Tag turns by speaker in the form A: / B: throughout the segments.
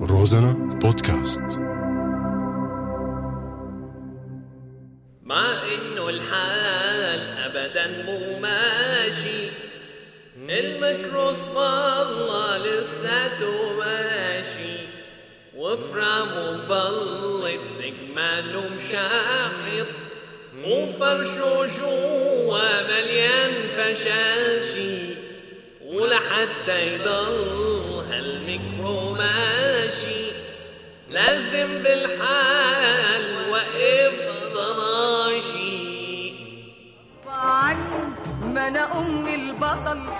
A: روزانا بودكاست
B: مع انه الحال ابدا مو ماشي الميكروس والله لساته ماشي وفرامه مبلط سجمانه مشاحط وفرشه جوا مليان فشاشي ولحتى يضل هالميكرو ماشي لازم بالحال وقف ضراشي
C: عني ما انا ام البطل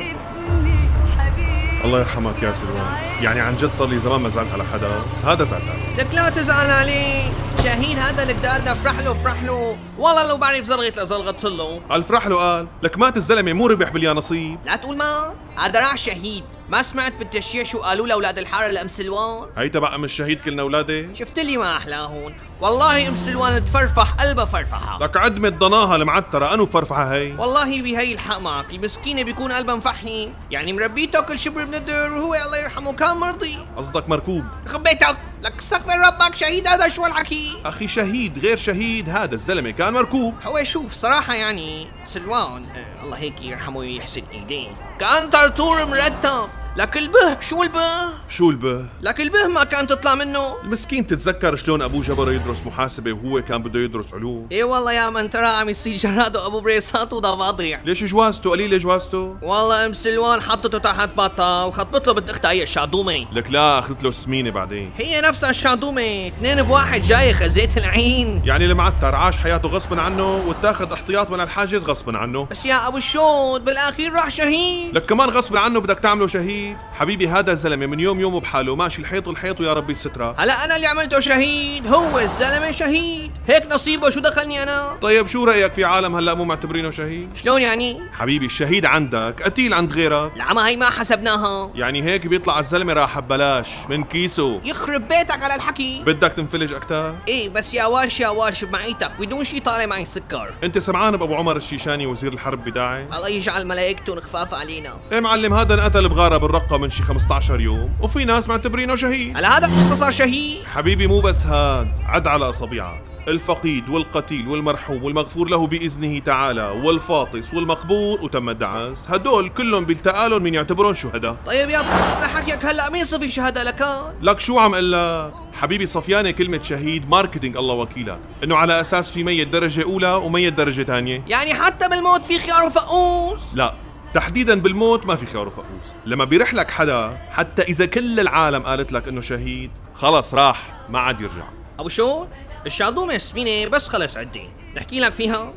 C: ابني حبيبي
D: الله يرحمك يا سلوان يعني عن جد صار لي زمان ما زعلت على حدا هذا زعلت عليه
E: لك لا تزعل عليه شاهين هذا الجدار ده فرح له فرح له والله لو بعرف زلغت لزلغت له
D: قال فرح له قال لك مات الزلمه مو ربح باليا نصيب
E: لا تقول ما هذا راح شهيد ما سمعت بالتشييع شو قالوا لاولاد الحاره لام سلوان
D: هي تبع ام الشهيد كلنا اولادي
E: شفت لي ما احلاهن والله ام سلوان تفرفح قلبها فرفحه
D: لك عدمة ضناها المعترة أنو فرفحة هي
E: والله بهي الحق معك المسكينة بيكون قلبها مفحي يعني مربيته كل شبر من الدر وهو الله يرحمه كان مرضي
D: قصدك مركوب
E: خبيتك لك استغفر ربك شهيد هذا شو الحكي
D: أخي شهيد غير شهيد هذا الزلمة كان مركوب
E: هو شوف صراحة يعني سلوان آه الله هيك يرحمه ويحسن ايديه كان طرطور مرتب لك البه شو البه؟
D: شو البه
E: لك البه ما كان تطلع منه
D: المسكين تتذكر شلون أبوه جبره يدرس محاسبة وهو كان بده يدرس علوم
E: ايه والله يا من ترى عم يصير جرادو ابو بريسات وضفاضيع
D: ليش جوازته قليلة جوازته
E: والله ام سلوان حطته تحت بطة وخطبت له بنت اختها هي الشعدومة
D: لك لا أخذت له السمينة بعدين
E: هي نفسها الشعدومة اثنين بواحد جاي خزيت العين
D: يعني المعتر عاش حياته غصبا عنه واتاخد احتياط من الحاجز غصبا عنه
E: بس يا ابو الشوط بالاخير راح شهيد
D: لك كمان غصب عنه بدك تعمله شهيد حبيبي هذا الزلمه من يوم يومه بحاله ماشي الحيط الحيط ويا ربي السترة
E: هلا انا اللي عملته شهيد هو الزلمة شهيد هيك نصيبه شو دخلني انا
D: طيب شو رايك في عالم هلا مو معتبرينه شهيد
E: شلون يعني
D: حبيبي الشهيد عندك قتيل عند غيرك
E: العمى هي ما حسبناها
D: يعني هيك بيطلع الزلمه راح ببلاش من كيسه
E: يخرب بيتك على الحكي
D: بدك تنفلج اكتر
E: ايه بس يا واش يا واش بمعيتك بدون شي طالع معي سكر
D: انت سمعان بابو عمر الشيشاني وزير الحرب بداعي
E: الله يجعل ملائكته خفاف علينا
D: ايه معلم هذا انقتل بغاره بالرقه من شي 15 يوم وفي ناس معتبرينه شهيد
E: هلا هذا شو صار شهيد
D: حبيبي مو بس هاد عد على اصابعك الفقيد والقتيل والمرحوم والمغفور له باذنه تعالى والفاطس والمقبور وتم الدعاس هدول كلهم بيلتقى لهم من يعتبرون شهداء
E: طيب يا طفل لحكيك هلا مين صفي شهادة لكان
D: لك شو عم قلك حبيبي صفيانة كلمة شهيد ماركتينج الله وكيلك انه على اساس في ميت درجة اولى وميت درجة ثانية
E: يعني حتى بالموت في خيار وفقوس
D: لا تحديدا بالموت ما في خيار وفقوس لما بيرح لك حدا حتى اذا كل العالم قالت لك انه شهيد خلص راح ما عاد يرجع
E: ابو شو الشعضومة السمينة بس خلص عدي نحكي لك فيها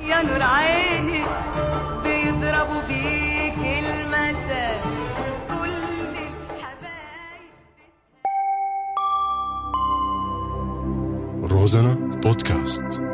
C: يا نور عيني بيضربوا بيك المساء كل الحبايب
A: روزانا بودكاست